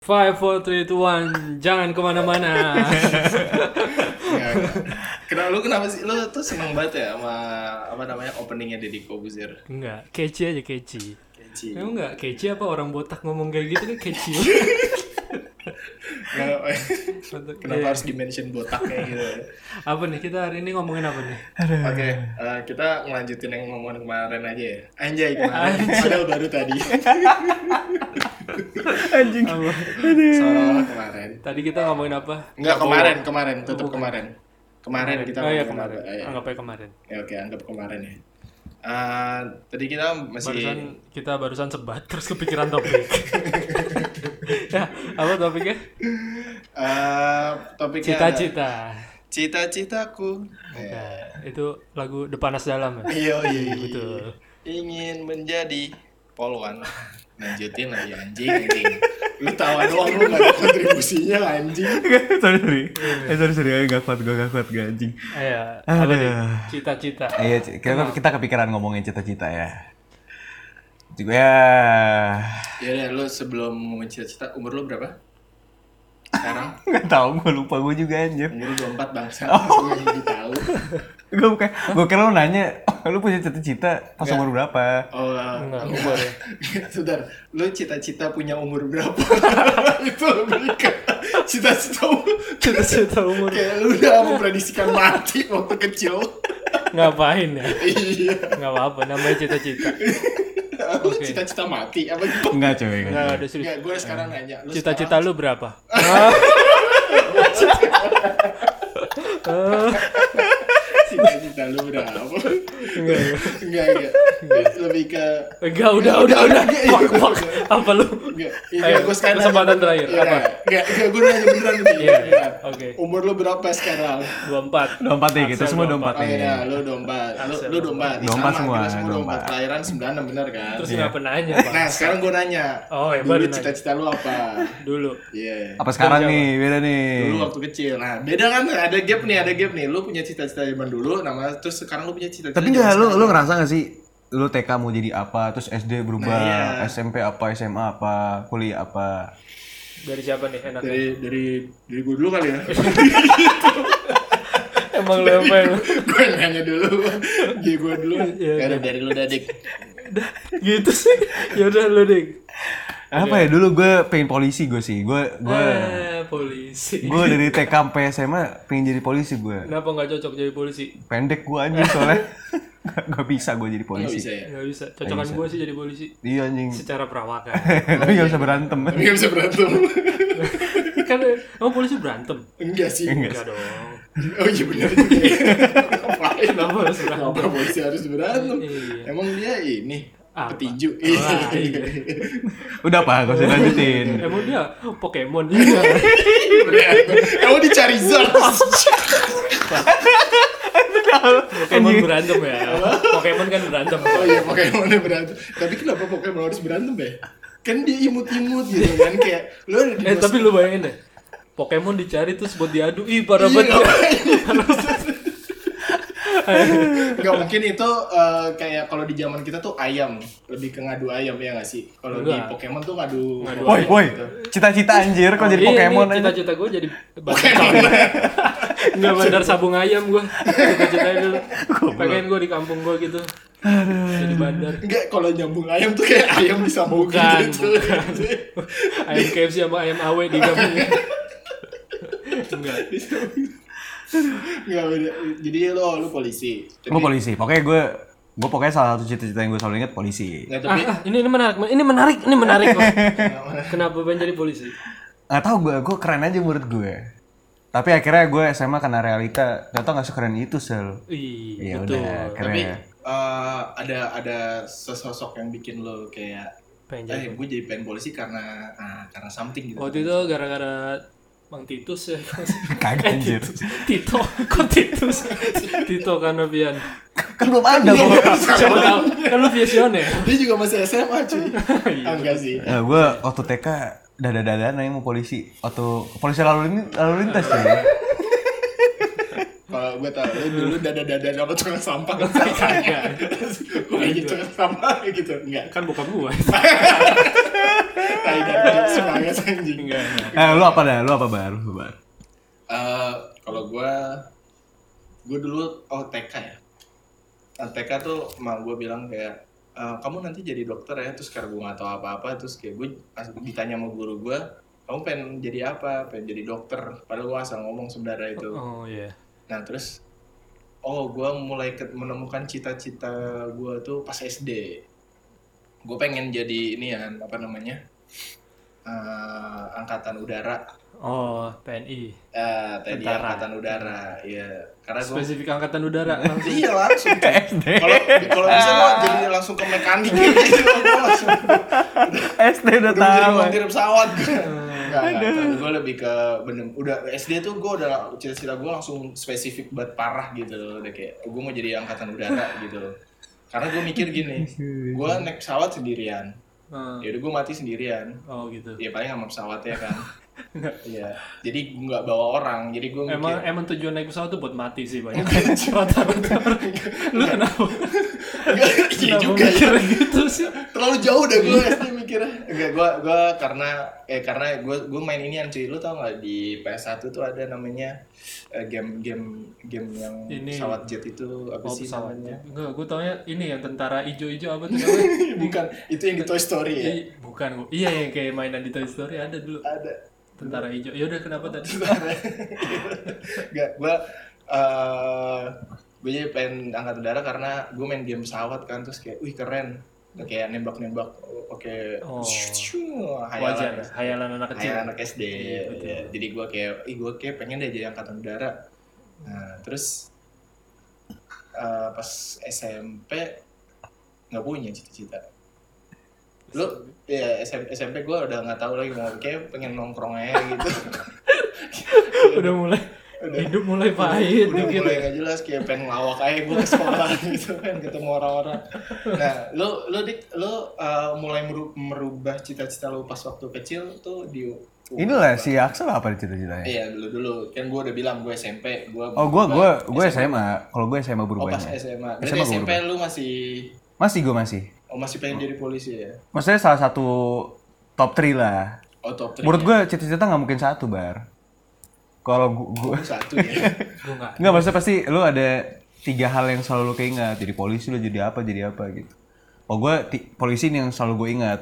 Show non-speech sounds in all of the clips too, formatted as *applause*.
Five, four, three, two, one. Jangan *laughs* kemana-mana. Nggak, nggak. Iya, Kenapa lu kenapa sih lu tuh seneng banget ya sama apa namanya openingnya Deddy Kobuzer? Enggak, kece aja kece. Keci. Iya. Emang enggak kece apa orang botak ngomong kayak gitu kan *laughs* kece. Kenapa, Nah, oh, iya. Iya. kenapa harus dimention botaknya gitu? Apa nih kita hari ini ngomongin apa nih? Oke, eh, kita ngelanjutin yang ngomongan kemarin aja ya. Anjay kemarin, padahal baru *laughs* tadi. Anjing. Soal kemarin. Tadi kita ngomongin apa? Enggak Prabowo. kemarin, kemarin, tutup kemarin. Kemarin kita Oh iya ngomongin kemarin. apa, ya. Anggap aja kemarin. Ya, oke, anggap kemarin ya. Eh, tadi kita masih Barusan kita barusan sebat terus kepikiran *laughs* topik. ya, apa topiknya? eh, topiknya ada Cita-cita. cita-citaku. Ya. Nah, itu lagu Depanas Dalam ya? Iya, iya, iya. Betul. ingin menjadi polwan *laughs* lanjutin lagi anjing anjing lu tawa doang lu gak ada kontribusinya anjing sorry sorry. Eh sorry sorry, Eh, gak kuat gue gak kuat gue anjing. Iya, apa nih? Aduh. Cita-cita. Iya, Ci. kita, kita kepikiran ngomongin cita-cita ya. Juga ya. yaudah lu sebelum ngomong cita-cita umur lu berapa sekarang Gak tau, gue lupa gue juga anjir. umur lu 24 bangsa oh. yang tahu Gue bukan, gue kira lu nanya, "Oh, lu punya cita-cita pas umur berapa? oh Enggak, *laughs* enggak umur ya. Sudar, lu cita-cita punya umur berapa? *laughs* itu lebih ke cita-cita umur. Cita-cita umur. Kayak lu udah mempredisikan mati waktu kecil. *laughs* Ngapain ya? iya. Nggak apa-apa, namanya cita-cita. Lu Oke. cita-cita mati apa gitu? Enggak coy, enggak. Nggak coy. ada serius. Enggak, gue sekarang nanya. Iya, Lu Cita-cita lu berapa? cita-cita lu berapa? Enggak, ya. Enggak, enggak. Lebih ke Enggak, udah, udah, udah. Wak, wak. Apa lu? enggak. Ayo, Enggak, gue sekarang kesempatan nanya- terakhir, Iya, apa? Enggak, enggak gue nanya beneran nih. Iya, Iya. oke. Umur lu berapa sekarang? 24. Dompat deh, kita Axel semua dompat. dompat Oh nih. iya, lu domba. Lu, Axel, lu domba. Ih, Domba sama, semua, Kita semua domba. domba. Kelahiran 96 bener kan? Terus nggak pernah nanya, Pak. Nah, sekarang gue nanya. Oh, ya, baru Dulu nanya. cita-cita lu apa? Dulu. Iya. Apa sekarang Jawab. nih, beda nih. Dulu waktu kecil. Nah, beda kan? Ada gap nih, ada gap nih. Lu punya cita-cita zaman dulu, nama terus sekarang lu punya cita-cita. Tapi enggak, lu, lu ngerasa gak sih lu TK mau jadi apa, terus SD berubah, Nah, iya. SMP apa, SMA apa, kuliah apa. Dari siapa nih ya? enaknya? dari dari dari gue dulu kali *laughs* ya. Emang lu apa ya? gue nanya dulu dia gue dulu Iya, ya, dari lu dadik Gitu sih. Ya udah lu, Dik. Apa ya dulu gue pengen polisi gue sih. Gue gue Eh, polisi. gue dari TK sampai SMA pengen jadi polisi gue. Kenapa nggak cocok jadi polisi? Pendek gue anjing soalnya. gak, gak bisa gue jadi nggak polisi. bisa ya Nggak bisa. Cocokan gue sih jadi polisi. Iya anjing. *laughs* Secara perawakan. Tapi gak usah berantem. tapi nggak bisa berantem kan emang polisi berantem? enggak sih Enggak dong. oh iya benar juga ya. ngapain Kenapa harus berantem? Kenapa polisi harus berantem Iya. emang dia ini Apa? petinju Wah, iya. Udah apa? Gak usah lanjutin. Emang dia Pokemon *laughs* juga. emang di Charizard Oh, Pokemon berantem ya. Pokemon kan berantem. oh iya Pokemon berantem tapi kenapa Pokemon harus berantem ya kan dia imut-imut gitu kan kayak lu ada di Eh mas- tapi lu bayangin deh. Pokemon dicari terus buat diadu. Ih parah Iya, *laughs* banget. Gak mungkin itu eh, kayak kalau di zaman kita tuh ayam lebih ke ngadu ayam ya gak sih? Kalau di Enggak. Pokemon tuh ngadu. gitu. Ngadu Woi, woi. Cita-cita anjir kok jadi Iya, Pokemon nih, anjing. Cita-cita gue jadi bandar sabung. Enggak bandar sabung ayam gue. Cita-citanya dulu. Pengen gue di kampung gue gitu. Jadi bandar. Enggak, kalau nyambung ayam tuh kayak ayam bisa mau Bukan, gitu. Ayam KFC sama ayam awe di kampung. Enggak. Enggak, beda. jadi lo lo polisi. Tapi, Gue polisi. Pokoknya gue gue pokoknya salah satu cita-cita yang gue selalu inget polisi. Ah, Enggak, tapi ah, ini ini menarik, ini menarik, ini menarik. Om. Kenapa pengen jadi polisi? Gak tau gue, gue keren aja menurut gue. Tapi akhirnya gue SMA kena realita, gak tau gak sekeren itu sel. Ih, Iya betul. udah, keren. tapi eh, ada ada sesosok yang bikin lo kayak Pengen jadi. eh gue jadi pengen polisi karena ah, karena something gitu. Iya. Waktu itu gara-gara Bang *laughs* Titus ya. Kagak Eh, anjir. Titus. Tito, kok *laughs* Titus? Tito Karnavian. Kan belum ada gue. Siapa tahu? Kan lu visioner. Dia juga masih SMA *laughs* cuy. Iya, Ah, enggak sih. Ya, gue waktu TK dada-dadaan yang mau polisi atau polisi lalu, lin- lalu lintas ya. Kalau gue tau, *laughs* lu dulu dada-dada sama tukang sampah Iya, kan sayangnya. Kan Gue kayak gitu, tukang sampah kayak gitu. Enggak. Kan bukan gua. tai dan jokes banget anjing. Enggak. enggak. Eh, lu apa dah? Lu apa baru? Lu baru. Eh, kalau gua gua dulu oh TK ya. Nah, TK tuh emak gua bilang kayak "Eh, kamu nanti jadi dokter ya terus karena gua nggak tahu apa-apa terus kayak gua pas ditanya sama guru gua kamu pengen jadi apa pengen jadi dokter padahal gua asal ngomong sebenarnya itu Oh iya. Nah terus, oh gue mulai ke- menemukan cita-cita gue tuh pas SD. Gue pengen jadi ini ya, apa namanya, eh, angkatan udara, Oh, PNI. Eh, tadi Tentara. angkatan udara, ya. Karena gue Spesifik angkatan udara. langsung. Iya langsung. *laughs* SD. Iya. Kalau kalau bisa gue jadi langsung ke mekanik *laughs* gitu, gue langsung. SD udah udah jadi tahu. eh. montir *laughs* pesawat Enggak, enggak. gue lebih ke bener udah SD tuh gue udah cita-cita gue langsung spesifik buat parah gitu loh udah kayak gue mau jadi angkatan udara gitu loh karena gue mikir gini gue naik pesawat sendirian Ah, ya udah gue mati sendirian Oh gitu. ya paling sama pesawatnya *laughs* kan Iya, jadi gue nggak bawa orang, jadi gue mikir Emang emang tujuan naik pesawat tuh buat mati sih banyak. *laughs* Rata-rata. orang. Lu kenapa? *laughs* iya Kenapa juga ya. mikir gitu sih? terlalu jauh dah gue SD Iya mikirnya enggak gue gue karena eh karena gue gue main ini cuy lu tau nggak di PS1 tuh ada namanya eh, game game game yang Ini. pesawat jet itu apa Oh, sih namanya pesawatnya. Iya. Enggak, gue taunya ini yang tentara ijo-ijo apa tuh namanya? *laughs* bukan itu yang di Toy Story ya I- bukan gua. Iya yang kayak mainan di Toy Story ada dulu. ada Tentara ijo. Ya udah kenapa tadi? enggak gue gue jadi pengen angkat udara karena gue main game pesawat kan terus kayak wih keren kayak nembak-nembak oke Oh. *laughs* hayalan ya. Wajar, hayalan anak kecil. kayak anak SD Iya, betul. ya. jadi gue kayak ih gue kayak pengen deh jadi angkatan udara nah terus eh, pas SMP nggak punya cita-cita lu ya SM SMP gue udah nggak tahu lagi mau kayak pengen nongkrong aja gitu *laughs* Udah mulai Udah. hidup mulai pahit udah gitu. mulai nggak jelas kayak pengen ngelawak aja gue ke sekolah *laughs* gitu kan ketemu orang-orang nah lu lu dik lu eh, mulai meru- merubah cita-cita lu pas waktu kecil tuh di Inilah si Axel apa cita-citanya? Iya dulu dulu kan gue udah bilang gue SMP gue Oh, gua gua gua SMA. Kalau gua SMA oh pas berubahnya. SMA SMA berarti gua SMP berubah. lu masih Masih gua masih. oh masih pengen jadi polisi ya Maksudnya salah satu top 3 lah. oh top 3 Menurut gua cita-cita nggak mungkin satu, Bar. Kalau gua, gua satu *laughs* ya Gue nggak. nggak maksudnya pasti lu ada tiga hal yang selalu lu keinget. Jadi polisi lu jadi apa, jadi apa gitu. Oh, gua ti- polisi ini yang selalu gua ingat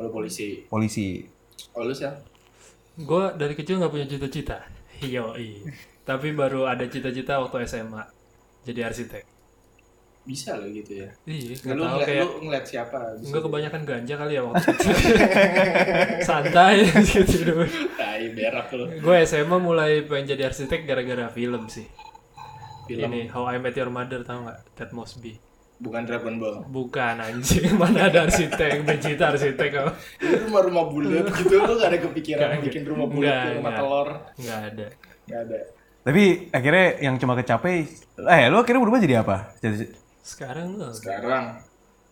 oh, lu polisi Polisi. oh lu sih Gue dari kecil nggak punya cita-cita. Yoi. Tapi baru ada cita-cita waktu SMA. Jadi arsitek. bisa lo gitu ya Iya, nggak lu tahu ngeliat, kayak lu ngeliat siapa abis nggak itu? kebanyakan ganja kali ya waktu itu. *laughs* Santai *laughs* gitu dulu. tai berak lu Gue SMA mulai pengen jadi arsitek gara-gara film sih. film Ini How I Met Your Mother tau nggak? Ted Mosby. bukan Dragon Ball Bukan anjing, *laughs* mana ada arsitek, becita arsitek apa? itu rumah rumah bulat gitu lu gak ada kepikiran Nggak, bikin rumah nggak, bulat rumah nggak. telur Nggak ada. gak ada Tapi akhirnya yang cuma kecapai eh lu akhirnya berubah jadi apa? Jadi Sekarang lu sekarang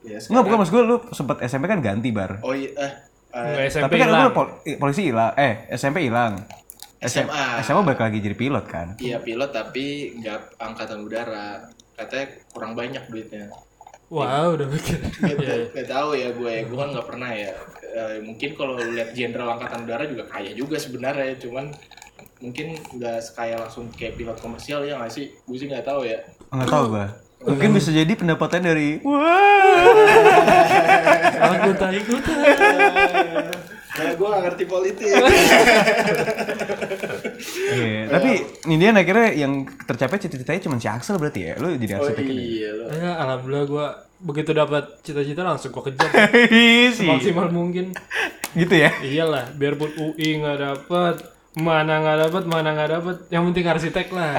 ya Enggak, sekarang bukan maksud gue lu sempet SMP kan ganti bar. oh iya eh, eh, nggak Tapi SMP kan lu hilang. pol- i- polisi hilang, eh SMP hilang. SM- SMA. SMA balik lagi jadi pilot kan. Iya pilot tapi nggak angkatan udara katanya kurang banyak duitnya Wow, udah mikir. nggak Iya, iya. nggak tahu ya gue gue kan nggak pernah ya Eh, mungkin kalau lu lihat jenderal angkatan udara juga kaya juga sebenarnya cuman mungkin nggak sekaya langsung kayak pilot komersial ya nggak sih gue sih nggak tahu ya Enggak tahu gua. Mungkin bisa jadi pendapatannya dari wah. Aku tak ikutan. karena gue Eh, ya nggak ngerti politik Iya, tapi Indian akhirnya yang tercapai cita-citanya cuma si Axel berarti ya. Lu jadi oh *laughs* arsitek. iya lo Ya, alhamdulillah gue begitu dapat cita-cita langsung gue kejar Iya. Sih. maksimal mungkin. gitu ya. Iyalah, biarpun UI nggak dapat, mana nggak dapat, mana nggak dapat, yang penting arsitek Eh. lah.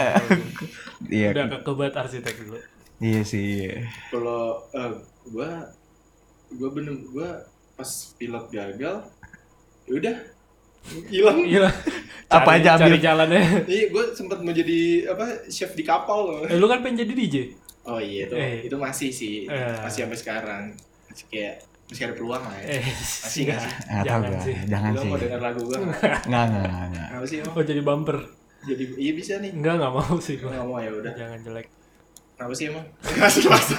Iya. Udah kekebat arsitek dulu. Iya sih. iya. kalau eh, gue gue bener gue pas pilot gagal ya udah hilang Iya. *laughs* Apa aja ambil. Cari jalannya. Iya, gue sempat mau jadi apa chef di kapal loh. Eh, lu kan pengen jadi DJ. Oh iya itu, Eh. itu masih sih, Eh. masih sampai sekarang. Masih kayak masih ada peluang lah ya. Eh, Masih nggak sih? Enggak tahu Jangan gua. Iya kan sih. Jangan Lo sih. mau denger lagu *laughs* gue? Enggak, enggak, enggak, enggak. Apa sih emang? Oh jadi bumper. Jadi iya bisa nih. Enggak, nggak mau sih gua. Nggak mau ya udah. Jangan jelek. Kenapa sih emang? Ngasih masa.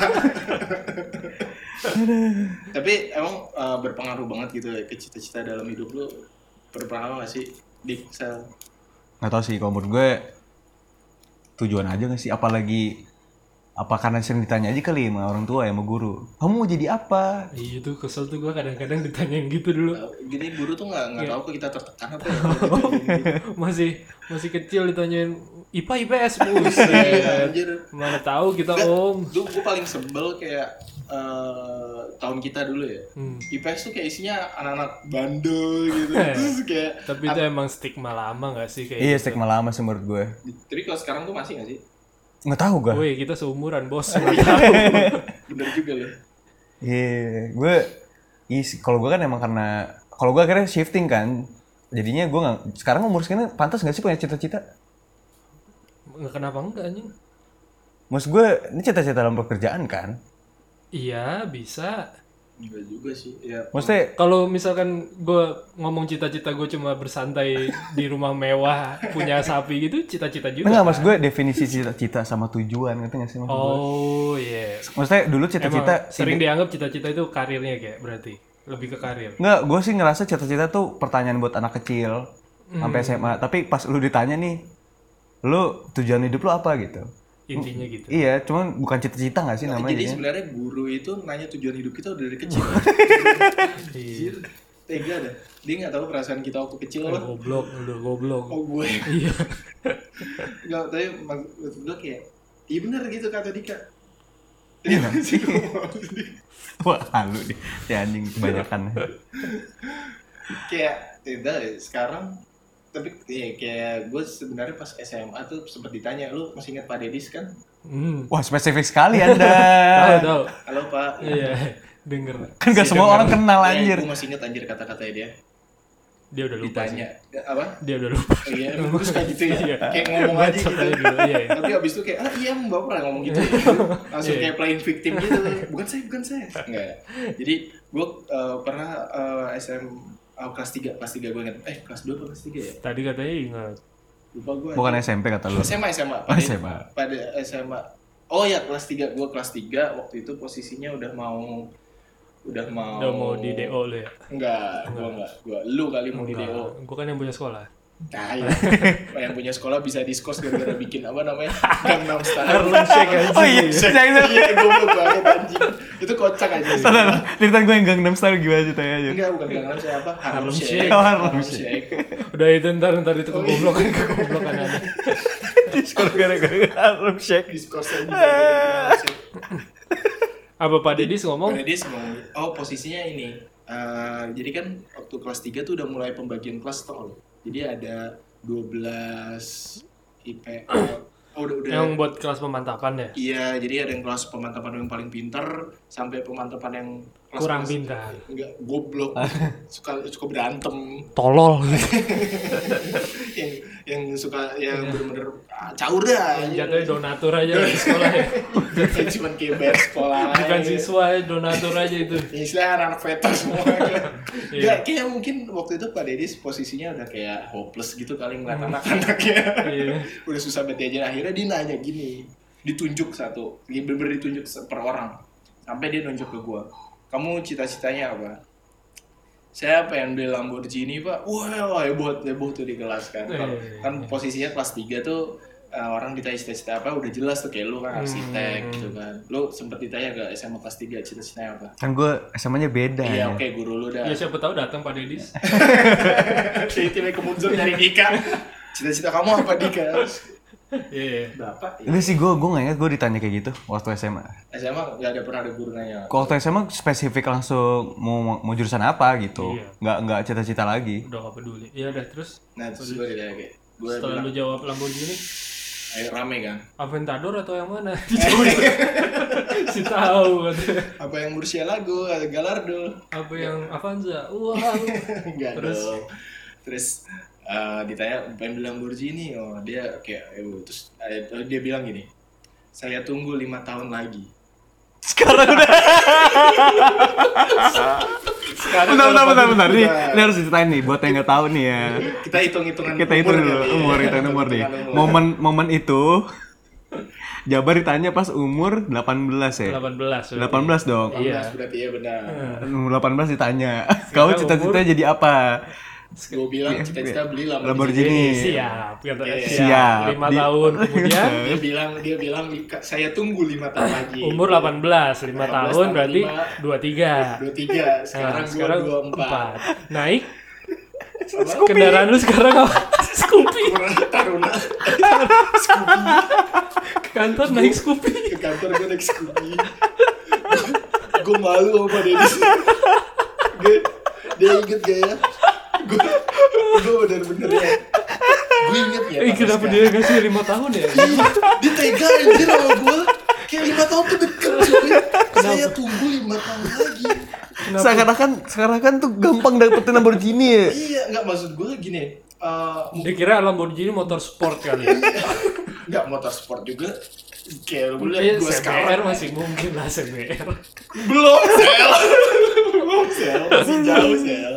Tapi emang eh, berpengaruh banget gitu ya ke cita-cita dalam hidup lu. Berpengaruh gak sih di sel? nggak tahu sih kalau menurut gue tujuan aja nggak sih apalagi apa karena sering ditanya aja kali sama orang tua ya sama guru kamu mau jadi apa Iya tuh kesel tuh gue kadang-kadang ditanyain gitu dulu. Jadi Eh, guru tuh nggak nggak tahu kok kita tertekan apa ya. Masih masih kecil ditanyain IPA IPS buset. Anjir. Mana tahu kita om. Gue gue paling sebel kayak eh, tahun kita dulu ya. Hmm. IPS tuh kayak isinya anak-anak bandel gitu. Terus kayak Tapi itu emang stigma lama gak sih kayak? iya stigma lama sih menurut gue tapi kalau sekarang tuh masih gak sih? nggak tahu gue Woi gitu? kita seumuran bos. Nggak tahu. Bener juga loh. Iya, gue is kalau gue kan emang karena kalau gue akhirnya shifting kan, jadinya gue nggak sekarang umur segini pantas nggak sih punya cita-cita? Nggak kenapa enggak anjing? Maksud gue ini cita-cita dalam pekerjaan kan? Iya bisa. Enggak juga sih. Ya. Maksudnya Kalau misalkan gue ngomong cita-cita gue cuma bersantai di rumah mewah punya sapi gitu cita-cita juga. enggak mas gue definisi cita-cita sama tujuan ngerti nggak sih maksud gue? Oh iya. Maksudnya dulu Emang cita-cita sering dianggap cita-cita itu karirnya kayak berarti lebih ke karir. Enggak, gue sih ngerasa cita-cita tuh pertanyaan buat anak kecil Hmm. sampai SMA. Tapi pas lu ditanya nih, lu tujuan hidup lu apa gitu? Intinya gitu. Iya, cuman bukan cita-cita nggak sih ya. Jadi namanya? jadinya? sebenarnya guru itu nanya tujuan hidup kita udah dari kecil. Oh, Iya. Tega dah. Dia nggak tahu perasaan kita waktu kecil loh. Goblok, udah goblok. Oh gue. Iya. Nggak, tapi mak- maksud gue kayak, iya bener gitu kata Dika. Iya *laughs* sih. Wah, halu nih. Si anjing *laughs* kebanyakan. kayak, tidak ya, sekarang tapi ya, kayak gue sebenarnya pas SMA tuh sempat ditanya lu masih ingat Pak Dedis kan? Hmm. Wah, spesifik sekali Anda. Eh. Tahu tahu. Halo Pak. Iya. Denger. kan gak semua orang kenal Iya, anjir. Gue masih ingat anjir kata-katanya dia. Dia udah lupa. sih. Ditanya apa? Dia udah lupa. *laughs* Oh, Iya, emang terus kayak gitu Iya. ya. Kayak ngomong aja Bacot aja gitu. dulu, iya, iya. Tapi abis itu kayak, ah iya mbak pernah ngomong gitu. Langsung Iya. kayak playing victim gitu. Bukan saya, bukan saya. Enggak. Jadi gue eh, pernah eh, SM oh, kelas 3, kelas 3 gue ingat. Eh kelas 2 atau kelas 3 ya? Tadi katanya ingat. Lupa gue. Bukan SMP kata lu. *laughs* SMA, SMA. Oh, Pada, SMA. Pada SMA. Oh ya kelas 3, gue kelas 3 waktu itu posisinya udah mau udah mau Udah mau di DO lu ya. enggak gua enggak gua lu kali Oh. mau di DO Enggak. Gue kan yang punya sekolah. Nah, *laughs* ya. yang punya sekolah bisa diskos gara-gara bikin apa *laughs* namanya? Gangnam Style. Harlem Shake aja. Oh iya, jangan Iya, goblok banget anjing. Itu kocak aja. sih. salah. Cerita gue yang Gangnam Style gimana ceritanya aja. Enggak, bukan Gangnam Style apa? Harlem Harlem Shake. Shake. Oh, Harlem Udah itu ntar ntar Oh, itu iya. kegoblokan *laughs* kegoblokan ada. Sekolah gara-gara Harlem Shake. Diskos aja. Eh. gara-gara Gangnam Shake. Apa Pak Dedis ngomong? Karena dia semua oh posisinya ini. Eh, jadi kan waktu kelas 3 tuh udah mulai pembagian kelas tol. Jadi ada 12 IP. Oh, udah udah Yang buat kelas pemantapan ya. Iya, jadi ada yang kelas pemantapan yang paling pintar sampai pemantapan yang kelas Kurang pintar. Enggak, goblok. suka suka berantem. Tolol. *laughs* yang yang suka yang bener-bener ah, caur dah. Iya. Yang jatuhnya donatur aja di sekolah ya. *laughs* Yang cuman kayak bayar sekolah. Iya. Bukan aja. siswa ya, donatur aja itu. Ya, istilahnya anak veter semua. Enggak, kayaknya mungkin waktu itu Pak Dedis posisinya udah kayak hopeless gitu kali ngeliat anak-anaknya. Iya. *laughs* udah susah banget aja akhirnya dia nanya gini ditunjuk satu dia bener-bener ditunjuk se- per orang sampai dia nunjuk ke gua kamu cita-citanya apa saya pengen beli Lamborghini pak wah heboh heboh tuh di kelas kan kan, Eh. kan posisinya kelas 3 tuh eh, orang ditanya cita-cita apa udah jelas tuh kayak lu kan arsitek gitu kan lu sempet ditanya ke SMA kelas 3 cita-citanya apa Kan gue SMA-nya beda. iya ya. oke guru lu dah Ya siapa tahu datang Pak Dedis. Jadi timnya ke Munzur *laughs* nyari Dika cita-cita kamu apa Dika Iya. bapak ya. Enggak sih, gue gue nggak ingat gue ditanya kayak gitu waktu SMA. SMA nggak ada pernah ada ya. guru nanya Kalau Waktu SMA spesifik langsung mau mau jurusan apa gitu, Iya. nggak nggak cita-cita lagi. *laughs* Udah gak peduli. Iya udah terus Nah, terus gue ditanya kayak, gue setelah bilang, lu jawab Lamborghini, ayo rame kan? Aventador atau yang *laughs* mana? Dijawab. si tahu katanya. Apa yang Murcielago atau Galardo? apa yang Iya. Avanza. Wah. lu. Enggak Terus? dong. Terus eh, ditanya, pengen bilang Lamborghini? Oh, dia kayak, "Ayo." terus eh, dia bilang gini, saya tunggu lima tahun lagi. Sekarang udah. Sekarang Bentar, bentar, kalau bentar, pandemi bentar. Nih, udah- ini harus diceritain nih buat yang nggak tahu nih ya. kita hitung hitungan ya. Kita hitung dulu umur kita hitung umur nih. Momen momen itu *laughs* Jabar ditanya pas umur 18 ya. 18. 18 dong. Iya. Mas berarti ya benar. Umur 18 ditanya, "Kau cita-cita jadi apa?" Gue bilang cita-cita beli Ini Lamborghini. Lamborghini. siap, kata Iya. Siap. siap. 5 Di- tahun kemudian Dia bilang dia bilang "Ika, saya tunggu lima tahun lagi. umur 18, 5 tahun 18, berarti 45. 23. dua tiga sekarang Nah, gue dua empat. 4. Naik kendaraan lu sekarang apa? *laughs* Scoopy. Kurang taruna Ke Kantor naik Scoopy. ke kantor gue naik Scooby. gue malu sama Dennis. Gue dia inget gak ya? Gue gue bener-bener ya. Gue inget ya. Eh, Pak kenapa Oscar. dia ngasih 5 tahun ya? Iya, dia tega anjir sama gue kayak lima tahun tuh deket cuy saya tunggu lima tahun lagi Seakan-akan seakan-akan tuh gampang dapetin Lamborghini ya. iya nggak maksud gue gini eh, *laughs* Dia kira Lamborghini motor sport kali ya. nggak motor sport juga kayak lu Iya, lihat gue CBR sekarang masih mungkin lah CBR. belum sel *laughs* belum sel masih jauh sel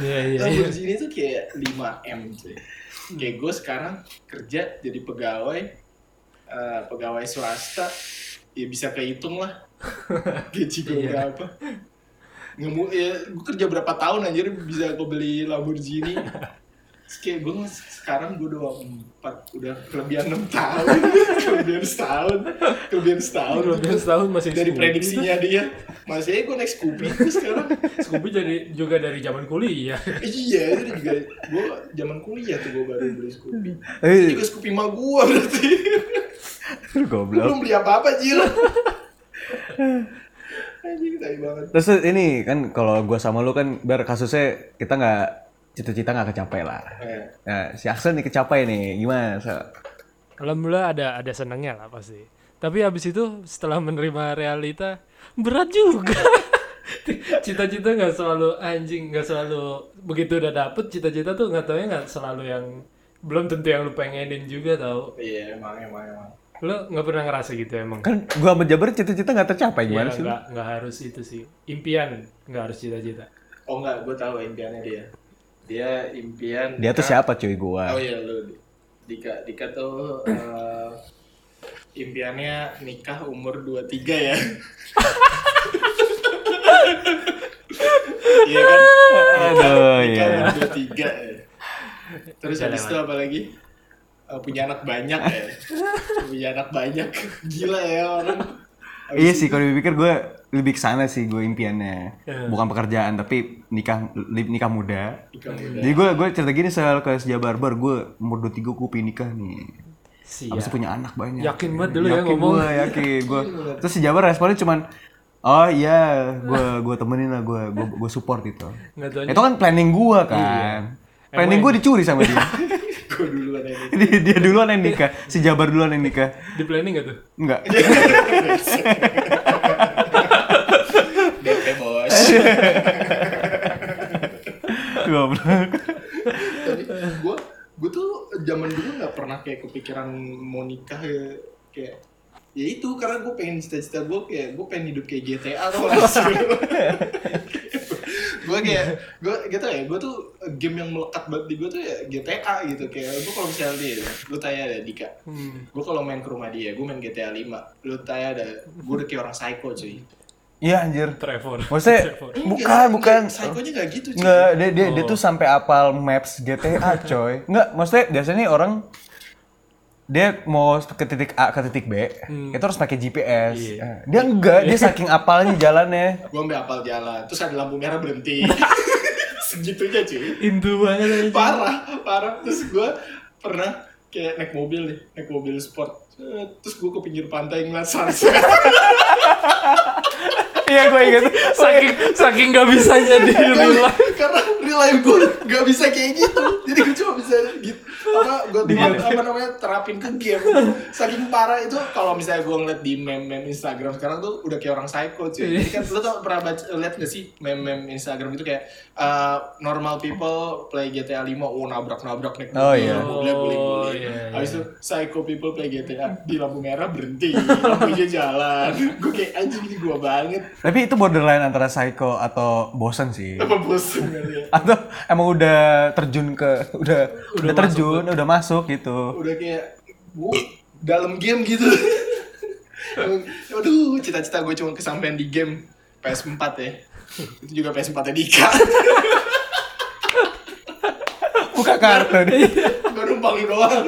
Iya, iya, iya. Lamborghini tuh kayak 5 m cuy kayak gue sekarang kerja jadi pegawai eh, pegawai swasta ya bisa kehitung *laughs* lah gaji gue Iya. berapa ngemu ya gue kerja berapa tahun anjir bisa gue beli Lamborghini Terus kayak gue sekarang gue udah empat udah kelebihan enam tahun *laughs* kelebihan setahun kelebihan setahun Kelebihan setahun masih dari Scoopy. *laughs* prediksinya dia masih aja gue naik Scoopy terus sekarang Scoopy jadi juga dari zaman kuliah. iya itu juga gue zaman kuliah tuh gue baru beli Scoopy itu Eh, juga Scoopy mah gue *laughs* berarti gue lu Eh, goblok. belum beli apa-apa *laughs* Jil anjing tai banget Terus ini kan kalau gua sama lu kan bar kasusnya kita nggak cita-cita nggak kecapai lah. Eh, Nah, si Axel nih kecapai nih, gimana? Sel? Alhamdulillah ada ada senangnya lah pasti. Tapi habis itu setelah menerima realita berat juga. *laughs* Cita-cita nggak selalu anjing, nggak selalu begitu udah dapet cita-cita tuh nggak taunya nggak selalu yang belum tentu yang lu pengenin juga tau. iya emang emang emang Lu nggak pernah ngerasa gitu emang? Kan gua sama Jabar cita-cita nggak tercapai Ya, gimana sih? lu? nggak nggak harus itu sih. Impian nggak harus cita-cita. oh enggak gue tahu impiannya dia dia impian Dia tuh Dika- siapa cuy gua? oh iya lu Dika Dika tuh eh, impiannya nikah umur 23 *laughs* ya iya kan Aduh, Nikah iya. umur 23 ya. Terus Udah habis lewat. itu apa lagi? Eh, punya anak banyak ya. punya anak banyak. Gila ya orang. Habis Iya itu- sih kalau dipikir gue lebih ke sana sih gue impiannya. Iya. Bukan pekerjaan tapi nikah li- nikah muda. Nikah muda. Jadi gue gue cerita gini soal ke sejabar bar gue umur 23 gue pengen nikah nih. Siap. Abis itu punya anak banyak. Iya. Yakin banget dulu ya Yakin ngomong. Gue yakin gue. Terus sejabar responnya cuman Oh iya, gue gue temenin lah, gue gue gue support itu. Nggak Iya. taunya- Itu kan planning gue kan. Planning gue dicuri *laughs* sama dia. *laughs* Gua duluan ini. dia. Dia duluan yang nikah, si Jabar duluan yang nikah. Di planning nggak tuh? *laughs* Enggak. DP bos. Goblok. Tapi gue gue tuh zaman dulu nggak pernah kayak kepikiran mau nikah ya. kayak ya itu karena gue pengen cita-cita gue kayak gue pengen hidup kayak GTA tau gak sih gue kayak gue gitu ya gue tuh game yang melekat banget di gue tuh ya GTA gitu kayak gue kalau misalnya dia lu tanya deh Dika Hmm. gue kalau main ke rumah dia gue main GTA 5 lu tanya deh gue udah kayak orang psycho cuy Iya, Iya anjir. Trevor. Maksudnya Trevor. bukan iya, bukan psychonya gak gitu cuy Nggak, dia dia, dia tuh sampai apal maps GTA, coy. Nggak, maksudnya biasanya orang dia mau ke titik A ke titik B, itu harus pakai GPS. Eh, Dia enggak, dia saking apalnya jalannya. gue ambil apal jalan terus ada lampu merah berhenti *laughs* segitunya cuy Indu banget aja. parah parah terus gue pernah kayak naik mobil nih naik mobil sport Eh, terus gue ke pinggir pantai ngeliat sunset Iya, gue ingat. saking saking nggak bisanya *laughs* di karena, real Iya, karena real life gue gak bisa kayak gitu jadi gue cuma bisa gitu apa gue apa namanya terapin ke game saking parah itu kalau misalnya gue ngeliat di meme-meme Instagram sekarang tuh udah kayak orang psycho Iya. cuy jadi kan lu tau pernah baca, liat gak sih meme-meme Instagram itu kayak eh, normal people play GTA 5 oh nabrak-nabrak naik Oh, iya. boleh boleh Oh, boleh iya, iya. habis itu psycho people play GTA di lampu merah berhenti lampunya jalan gue kayak anjing ini gue banget Tapi itu borderline antara psycho atau bosen sih. apa bosen kali ya Atau emang udah terjun ke udah udah, terjun, udah masuk gitu. udah kayak gue dalam game gitu *laughs* Aduh, cita-cita gue cuma kesampaian di game PS4 ya. Itu juga PS4 nya *laughs* Dika. Buka kartu deh. gue numpang doang.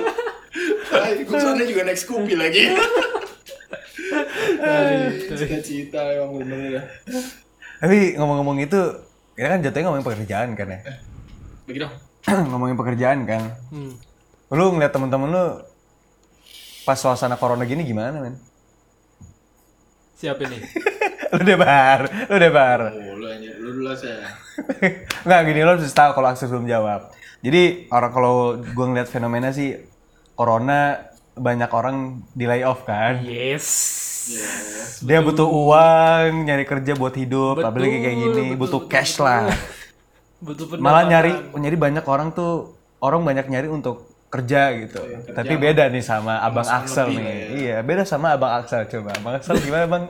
gue sana juga naik Scoopy lagi. Dari cita-cita emang bener ya. Tapi ngomong-ngomong itu, kita kan jatuhnya ngomongin pekerjaan kan ya. *clears throat* Bagi dong. ngomongin pekerjaan kan. Hmm, Lu ngeliat temen-temen lu pas suasana corona gini gimana men? *laughs* Siapa ini? lu udah bar, lu udah bar. Oh, lu anjir, lu dulu lah Ya, saya. *laughs* Nggak gini lo harus tahu kalau Akses belum jawab. Jadi orang kalau gua ngeliat fenomena sih corona banyak orang di layoff kan. Yes. ya. Dia butuh uang, nyari kerja buat hidup, apalagi kayak gini, butuh cash lah. Butuh Malah nyari nyari banyak orang tuh orang banyak nyari untuk kerja gitu. Tapi beda nih sama Abang Axel nih. Iya, beda sama Abang Axel coba. Abang Axel gimana, Bang?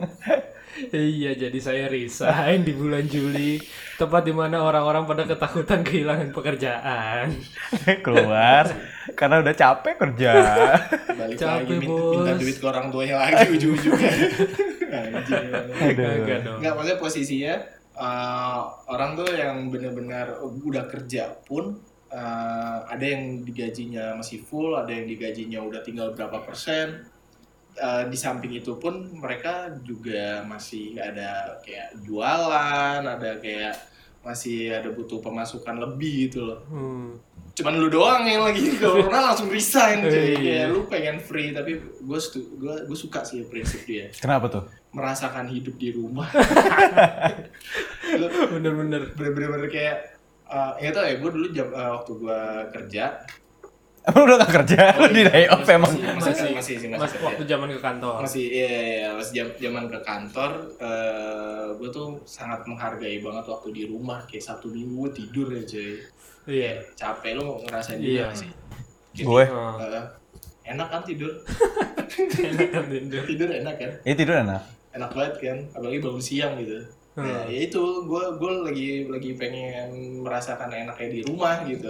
Iya, jadi saya resign di bulan Juli, tempat di mana orang-orang pada ketakutan kehilangan pekerjaan. *laughs* Keluar karena udah capek kerja. Balik lagi Capek, min- minta Bos. duit ke orang tuanya lagi ujung-ujungnya. *laughs* Anjir. Kagak dong. Enggak, maksudnya posisinya eh, orang tuh yang benar-benar udah kerja pun eh, ada yang digajinya masih full, ada yang digajinya udah tinggal berapa persen. Eh, di samping itu pun mereka juga masih ada kayak jualan, ada kayak masih ada butuh pemasukan lebih gitu loh. Hmm. Cuman lu doang yang lagi corona langsung resign cuy. Iya. Kayak lu pengen free tapi gue gue gue suka sih prinsip dia Kenapa tuh? merasakan hidup di rumah. Bener-bener. *laughs* bener-bener kayak eh ya tau ya gue dulu jam eh, waktu gue kerja Emang udah gak kerja? Lu Oh, di layoff emang? masih masih masih, masih, Mas kerja. waktu zaman ke kantor. masih iya iya, iya. pas jam zaman ke kantor eh gue tuh sangat menghargai banget waktu di rumah kayak sabtu minggu tidur ya cuy Iya. capek lo ngerasain Iya. juga gak sih Gue. Oh, Eh, enak kan tidur enak kan, Tinder. tidur enak kan Ini tidur enak. enak banget kan apalagi bangun siang gitu Hmm. nah ya itu gue gue lagi lagi pengen merasakan enaknya di rumah gitu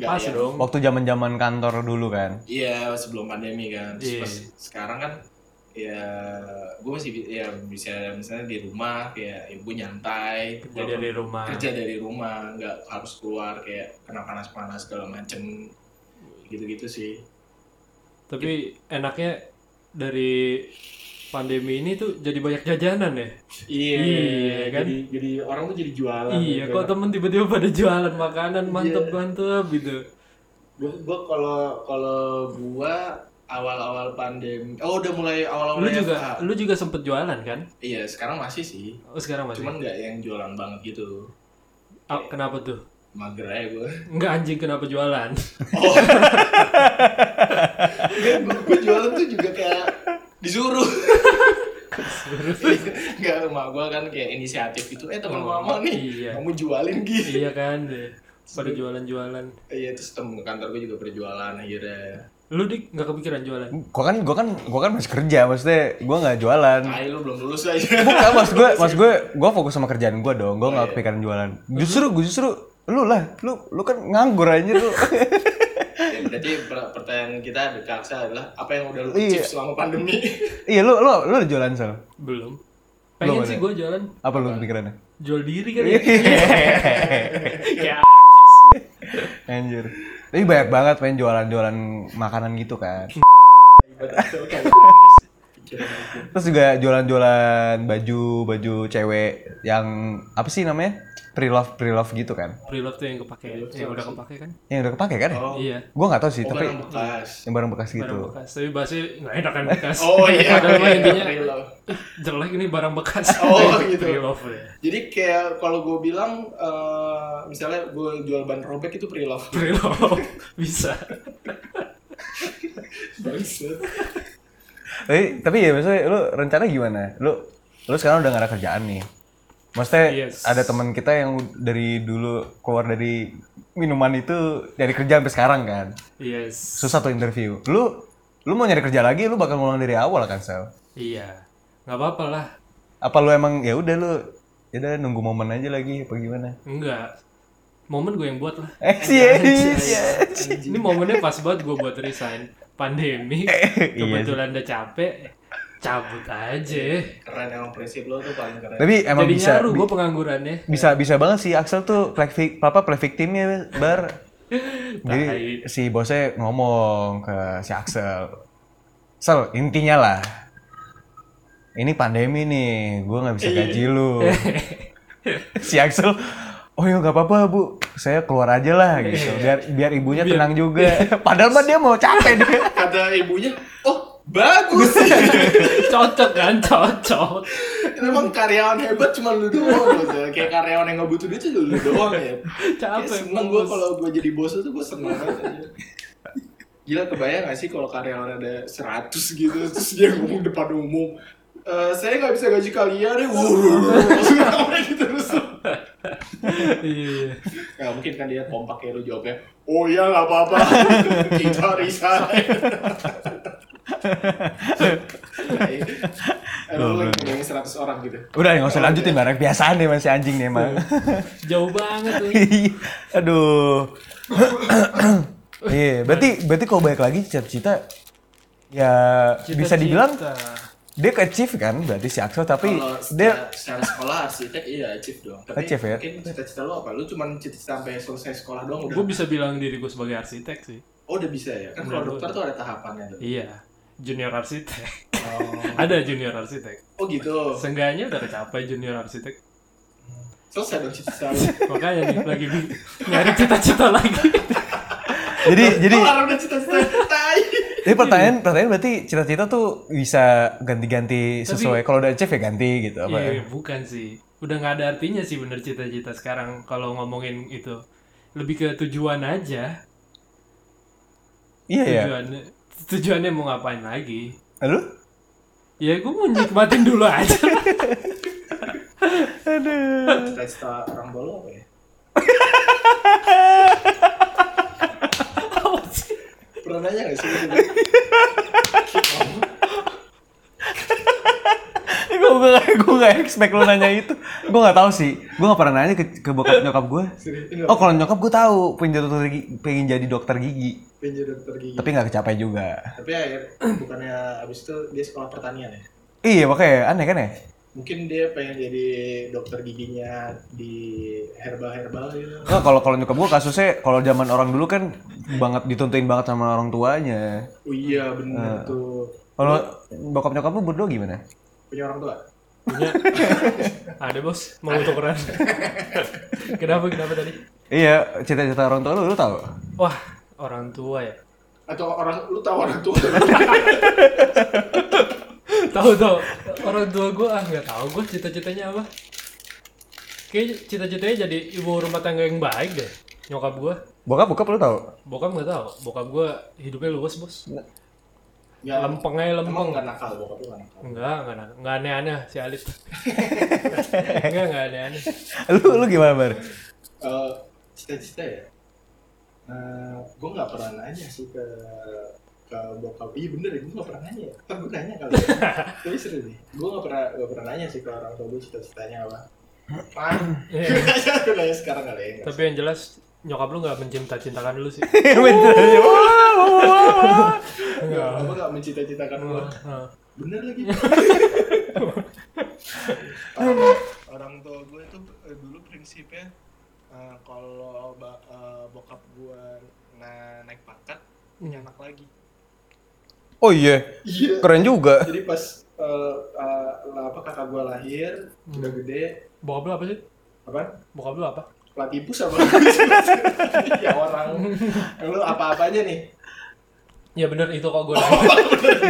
Nggak Pas yang- dong. Waktu zaman-zaman kantor dulu kan. Iya sebelum pandemi kan. Terus Iya. pas sekarang kan ya gue masih bi- ya bisa misalnya di rumah kayak ibu nyantai Kerja dari rumah. kerja dari rumah nggak harus keluar kayak kena panas panas segala macem gitu gitu sih Tapi enaknya dari pandemi ini tuh jadi banyak jajanan ya. iya Iya, kan? jadi jadi orang tuh jadi jualan gitu. Iya. Iya, kok temen tiba-tiba pada jualan makanan mantep-mantep gitu. gue gue kalau kalau gue awal awal pandemi oh udah mulai awal Lu awal juga, lu juga sempet jualan kan? iya sekarang masih sih Oh, sekarang masih. cuman nggak yang jualan banget gitu Ah, kenapa tuh? mager aja *laughs* gue Enggak anjing kenapa *laughs* jualan? Oh. gue jualan tuh juga kayak disuruh. *laughs* Enggak, emak gue kan kayak inisiatif gitu. Eh teman Oh, mama nih, iya. kamu jualin gitu. iya kan, deh. pada jualan-jualan. Iya, terus temen kantor gue juga berjualan akhirnya. Lu dik nggak kepikiran jualan? Gua kan gua kan gua kan masih kerja, maksudnya gua nggak jualan. Nah, lu belum lulus aja. Bukan, mas gue, mas gue, gue fokus sama kerjaan gue dong. Gue nggak kepikiran jualan. Justru, gue justru lu lah, lu lu kan nganggur aja lu. *laughs* *laughs* ya, berarti per- pertanyaan kita dari Kaksa adalah apa yang udah lu Iya. achieve selama pandemi? iya lu lu lu ada jualan sel. Belum. Pengen Belum sih ada. gua jualan. Apa lu kepikirannya? Jual diri kali *laughs* ya. *laughs* Anjir. Tapi banyak banget pengen jualan-jualan makanan gitu kan. Iya. Terus juga jualan-jualan baju baju cewek yang apa sih namanya? Pre-love pre-love gitu kan. Preloved tuh yang kepake. Yang udah kepake kan? Yang udah kepake kan? ya? Oh, Iya. Gue nggak tahu sih, oh tapi barang bekas. yang barang bekas gitu. Barang bekas. Tapi bahasnya nggak enak kan bekas. Oh iya, *laughs* Padahal mah iya, *laughs* intinya preloved. "Ih, jelek ini barang bekas. *laughs* Oh, gitu. Preloved ya. Jadi kayak kalau gue bilang, eh, misalnya gue jual ban robek itu pre-love. Preloved *laughs* bisa. Bangsat. tapi, tapi ya maksudnya lu rencana gimana? Lu lu sekarang udah gak ada kerjaan nih. Maksudnya Yes. ada teman kita yang dari dulu keluar dari minuman itu dari kerja sampai sekarang kan. Yes. Susah tuh interview. Lu lu mau nyari kerja lagi lu bakal ngulang dari awal kan, Sel? Iya. Nggak apa-apa lah. Apa lu emang ya udah lu ya udah nunggu momen aja lagi apa gimana? Enggak. Momen gue yang buat lah. Eh sih. iya. Eh, iya. Ini momennya pas banget gue buat resign. Pandemi, kebetulan udah capek. cabut aja keren emang prinsip lo tuh paling keren Tapi emang jadi bisa nyaru bi- gue penganggurannya bisa bisa banget sih Axel tuh play vic- apa play victimnya bar. Jadi si bosnya ngomong ke si Axel. Sel, intinya lah. Ini pandemi nih, gue nggak bisa gaji *laughs* lu. si Axel, oh ya nggak apa-apa bu, saya keluar aja lah gitu. Biar biar iya. ibunya tenang juga. *laughs* Padahal mah dia mau capek dia. *laughs* kata ibunya oh bagus *laughs* *laughs* cocok kan cocok emang karyawan hebat cuma lu doang gitu. kayak karyawan yang nggak butuh duit tuh lu doang ya Capek, kayak seneng gue bos. kalau gue jadi bos tuh gue seneng banget aja. gila kebayang gak sih kalau karyawan ada 100 gitu terus dia ngomong depan umum "Eh, saya nggak bisa gaji kalian deh wuh langsung ketawa gitu terus iya nggak mungkin kan dia kompak kayak lu jawabnya oh ya nggak apa-apa kita resign Nah, iya. Lu lagi ngomongin 100 orang gitu Udah nggak usah lanjutin barang biasaan nih masih anjing nih emang. jauh banget tuh Iya. *laughs* Aduh. *coughs* Iya, berarti berarti kalau balik lagi cita-cita ya bisa dibilang Cita-cita. dia ke achieve kan berarti si Axel tapi Kalau ya. dia secara, secara sekolah arsitek iya achieve dong. Tapi Achieve ya? mungkin cita-cita lo apa? Lu cuma cita-cita sampai selesai sekolah doang udah. gue bisa bilang diri gue sebagai arsitek sih Oh, udah bisa ya. Kan kalau Udah, dokter tuh ada tahapannya tuh. iya junior arsitek Oh, ada junior arsitek oh gitu. seenggaknya udah kecapai junior arsitek Selesai dong cita-cita lu. makanya nih lagi bi- nyari cita-cita lagi jadi *laughs* jadi Kelar udah cita-cita tai. jadi pertanyaan pertanyaan berarti cita-cita tuh bisa ganti-ganti sesuai kalau udah achieve ya ganti gitu apa ya. Iya, bukan sih. Udah nggak ada artinya sih bener cita-cita sekarang kalau ngomongin itu. Lebih ke tujuan aja. Iya ya. Tujuannya, tujuannya mau ngapain lagi. Aduh. Ya gue mau nikmatin dulu aja. Aduh. *laughs* Cita-cita orang bolu apa ya? Apa sih? Pernah nanya gak sih? *laughs* gue gak, gue gak expect lo nanya itu Gue gak tahu sih Gue gak pernah nanya ke, ke bokap nyokap gue Oh kalau nyokap gue tahu pengen jadi dokter gigi, pengen jadi dokter gigi Penjuru dokter gigi. Tapi gak kecapai juga Tapi akhir bukannya abis itu dia sekolah pertanian ya? Iya makanya aneh kan ya Mungkin dia pengen jadi dokter giginya di herbal-herbal gitu. Nggak, kalau kalau nyokap gue kasusnya kalau zaman orang dulu kan banget dituntuin banget sama orang tuanya. Oh iya Ah. bener tuh. Kalau bokap nyokap lu berdua gimana? Punya orang tua? Punya. ada bos, mau tukeran. kenapa, kenapa tadi? Iya, cita-cita orang tua lu lu tahu. Wah, orang tua ya. atau orang lu tahu orang *laughs* tua Tahu tahu orang tua gue ah nggak tahu gue cita-citanya apa. Kayaknya cita-citanya jadi ibu rumah tangga yang baik deh. Nyokap gue, Bokap bokap lu tahu. bokap nggak tahu. Bokap gue hidupnya luas bos. ya lempeng aja lempeng emang nggak nakal bokap lu nggak nakal enggak enggak nakal. enggak aneh-aneh si Alif enggak enggak aneh-aneh Lu lu gimana, Bar? Eh, cita-cita ya Eh, gue nggak pernah nanya sih ke ke bokap iya bener ya gue nggak pernah nanya kan gue nanya kali *laughs* ya. tapi seru nih gue nggak pernah nggak pernah nanya sih ke orang tua gue cita-citanya apa Pan, *laughs* Iya. gue nanya sekarang kali ya. tapi yang jelas nyokap lu enggak mencinta-cintakan lu sih Iya, Bener. Wah, wah, wah. Enggak, apa nggak mencita-citakan Kan gue? Heeh. Bener lagi. orang tua gue itu eh, dulu prinsipnya eh, kalau ba- eh, bokap gue na- naik pangkat punya anak lagi. Oh iya, Iya. keren juga. Jadi pas eh, eh, lah, apa kakak gue lahir udah gede bokap lu apa sih apa bokap lu apa pelatih pus apa *laughs* ya orang lu apa apanya nih ya bener itu kok gue nanya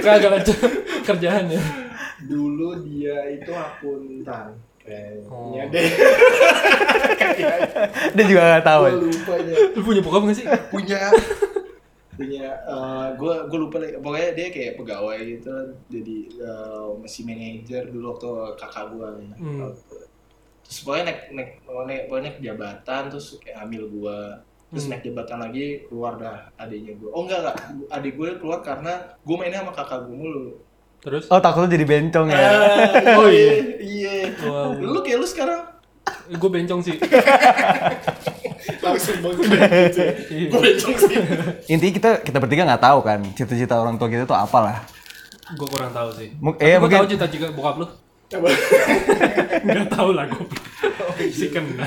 kagak ya. lucu kerjaannya dulu dia itu akuntan kayaknya Oh. deh Dia juga gak tahu. gue lupa ya. lu punya bokap nggak sih punya *laughs* punya gue gue lupa lagi pokoknya dia kayak pegawai gitu jadi eh, masih manajer dulu waktu kakak gue Hmm. terus pokoknya naik naik naik pokoknya naik jabatan terus kayak hamil gue terus Hmm. naik jabatan lagi keluar dah adiknya gue oh enggak enggak adik gue keluar karena gue mainnya sama kakak gue mulu terus Oh, takut lu jadi bencong ya. Eh, *laughs* Oh, iya. iya Wow. lu kayak lu sekarang gue bencong sih langsung banget *laughs* Iya. gue bencong sih Intinya kita kita bertiga nggak tahu kan cita-cita orang tua kita tuh apalah. Gue kurang tahu sih. Mung- Tapi iya, gua mungkin- tahu cita-cita bokap lu. *laughs* Coba. Oh, iya. Gak tahu lah gue. si kena.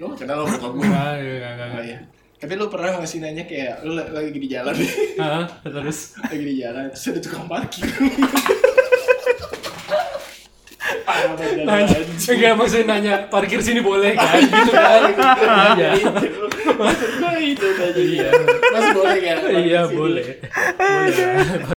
Lu kenal lo bokap gue. Ah, iya, enggak, enggak, Oh, enggak. iya. Tapi lu pernah ngasih nanya kayak lu la- lagi di jalan Ah, terus lagi di jalan terus ada tukang parkir. Parah banget, nanya, anjing. enggak maksudnya nanya parkir sini boleh kan gitu kan iya Itu. Maksud gue itu tadi. Iya. Mas boleh kan? iya Parkir sini? Iya. boleh boleh